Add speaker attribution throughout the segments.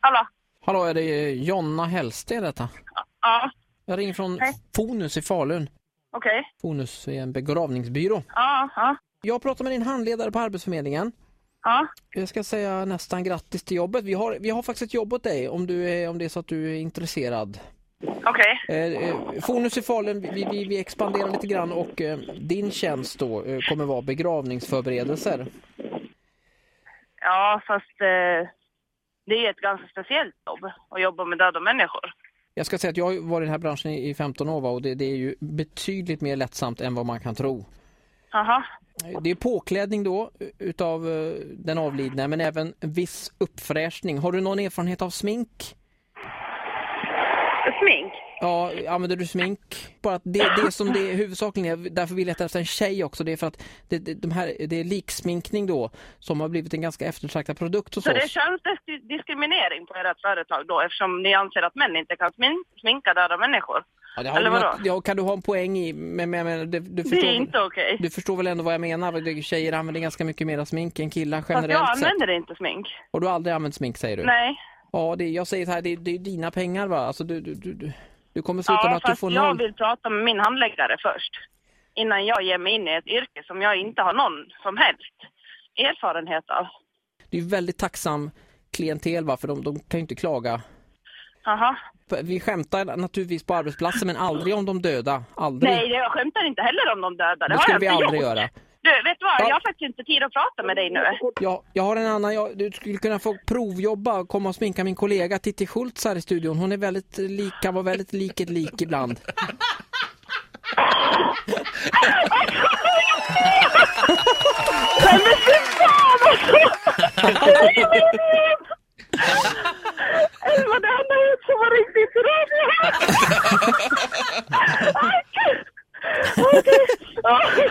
Speaker 1: Hallå?
Speaker 2: Hallå, är det Jonna Hellsted detta?
Speaker 1: Ja,
Speaker 2: Jag ringer från
Speaker 1: Hej.
Speaker 2: Fonus i Falun.
Speaker 1: okej.
Speaker 2: Fonus är en begravningsbyrå.
Speaker 1: Ja, ja,
Speaker 2: Jag pratar med din handledare på Arbetsförmedlingen.
Speaker 1: ja.
Speaker 2: Jag ska säga nästan grattis till jobbet. Vi har, vi har faktiskt ett jobb åt dig om, du är, om det är så att du är intresserad.
Speaker 1: Okej.
Speaker 2: Eh, eh, Fonus i Falun, vi, vi, vi expanderar lite grann och eh, din tjänst då eh, kommer vara begravningsförberedelser.
Speaker 1: Ja, fast eh, det är ett ganska speciellt jobb att jobba med döda människor.
Speaker 2: Jag ska säga att jag har ju varit i den här branschen i i 15 år va, och det, det är ju betydligt mer lättsamt än vad man kan tro.
Speaker 1: Jaha,
Speaker 2: Det är påklädning då utav eh, den avlidne men även en viss uppfräschning. Har du någon erfarenhet av smink?
Speaker 1: smink?
Speaker 2: Ja, använder du smink? Bara att det, det som det är huvudsakligen är, därför vi letar efter en tjej också, det är för att det, det, de här, det är liksminkning då som har blivit en ganska eftertraktad produkt hos
Speaker 1: Så det är
Speaker 2: oss.
Speaker 1: könsdiskriminering på ert företag då eftersom ni anser att män inte kan smin- sminka döda människor?
Speaker 2: Ja, det har
Speaker 1: eller
Speaker 2: du
Speaker 1: vadå?
Speaker 2: något- ja, kan du ha en poäng i, men, men, men du, du,
Speaker 1: Det
Speaker 2: förstår,
Speaker 1: är inte okej.
Speaker 2: du förstår väl ändå vad jag menar? Det- Tjejer använder ganska mycket mer smink än killar
Speaker 1: Fast jag
Speaker 2: generellt sett.
Speaker 1: använder inte smink.
Speaker 2: Har du aldrig använt smink säger du?
Speaker 1: Nej.
Speaker 2: Ja, det, jag säger så här, det, det är dina pengar va? Alltså, du, du, du, du, du kommer sluta med
Speaker 1: Ja,
Speaker 2: att du
Speaker 1: fast
Speaker 2: får
Speaker 1: jag
Speaker 2: noll.
Speaker 1: vill prata med min handläggare först. Innan jag ger mig in i ett yrke som jag inte har någon som helst erfarenhet av.
Speaker 2: Det är ju väldigt tacksam klientel va, för de, de kan ju inte klaga.
Speaker 1: Jaha.
Speaker 2: Vi skämtar naturligtvis på arbetsplatsen men aldrig om de döda. Aldrig.
Speaker 1: Nej, det- jag skämtar inte heller om de döda. Det,
Speaker 2: det
Speaker 1: har
Speaker 2: skulle
Speaker 1: jag
Speaker 2: vi
Speaker 1: inte
Speaker 2: aldrig
Speaker 1: gjort.
Speaker 2: göra.
Speaker 1: Du, vet du vad?
Speaker 2: Ja.
Speaker 1: Jag har faktiskt inte tid att prata med dig nu.
Speaker 2: Jag, jag har en annan, jag, du skulle kunna få provjobba och komma och sminka min kollega Titti Schultz här i studion. Hon är väldigt lik, kan vara väldigt lik ett lik ibland.
Speaker 1: Nej, men fy fan alltså! Nej, men jag vet. Elva, det enda ut som var riktigt radio. Aj, gud. Okej.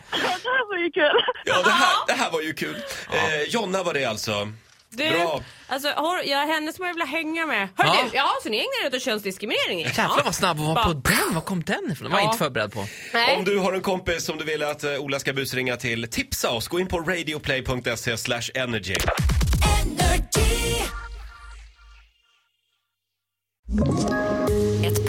Speaker 3: Ja.
Speaker 1: Det här var ju kul.
Speaker 4: Ja, det här, det här var ju kul. Eh, Jonna var det alltså.
Speaker 5: Du,
Speaker 4: Bra.
Speaker 5: alltså, har, jag är henne som jag vill hänga med. Hör
Speaker 3: Ja.
Speaker 5: du, jaha, så ni ägnar er åt könsdiskriminering?
Speaker 3: Jävlar vad snabb hon var på den. Var kom den ifrån? Den var jag
Speaker 5: Ja.
Speaker 3: inte förberedd på.
Speaker 5: Nej.
Speaker 4: Om du har en kompis som du vill att eh, Ola ska busringa till, tipsa oss. Gå in på radioplay.se slash energy.
Speaker 6: Ett